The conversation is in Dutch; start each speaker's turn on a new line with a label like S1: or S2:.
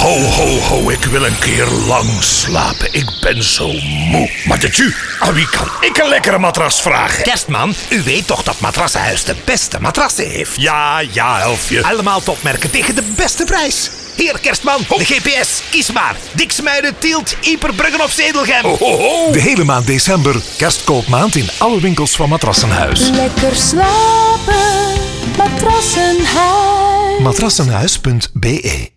S1: Ho, ho, ho, ik wil een keer lang slapen. Ik ben zo moe. Maar dat u, aan wie kan ik een lekkere matras vragen?
S2: Kerstman, u weet toch dat Matrassenhuis de beste matrassen heeft?
S1: Ja, ja, elfje.
S2: Allemaal topmerken tegen de beste prijs. Heer Kerstman, de GPS, kies maar. Diksmuiden, Tielt, Ieperbruggen of Zedelgem.
S1: Ho, ho, ho.
S3: De hele maand december, kerstkoopmaand in alle winkels van Matrassenhuis.
S4: Lekker slapen, matrassenhuis.
S3: Matrassenhuis.be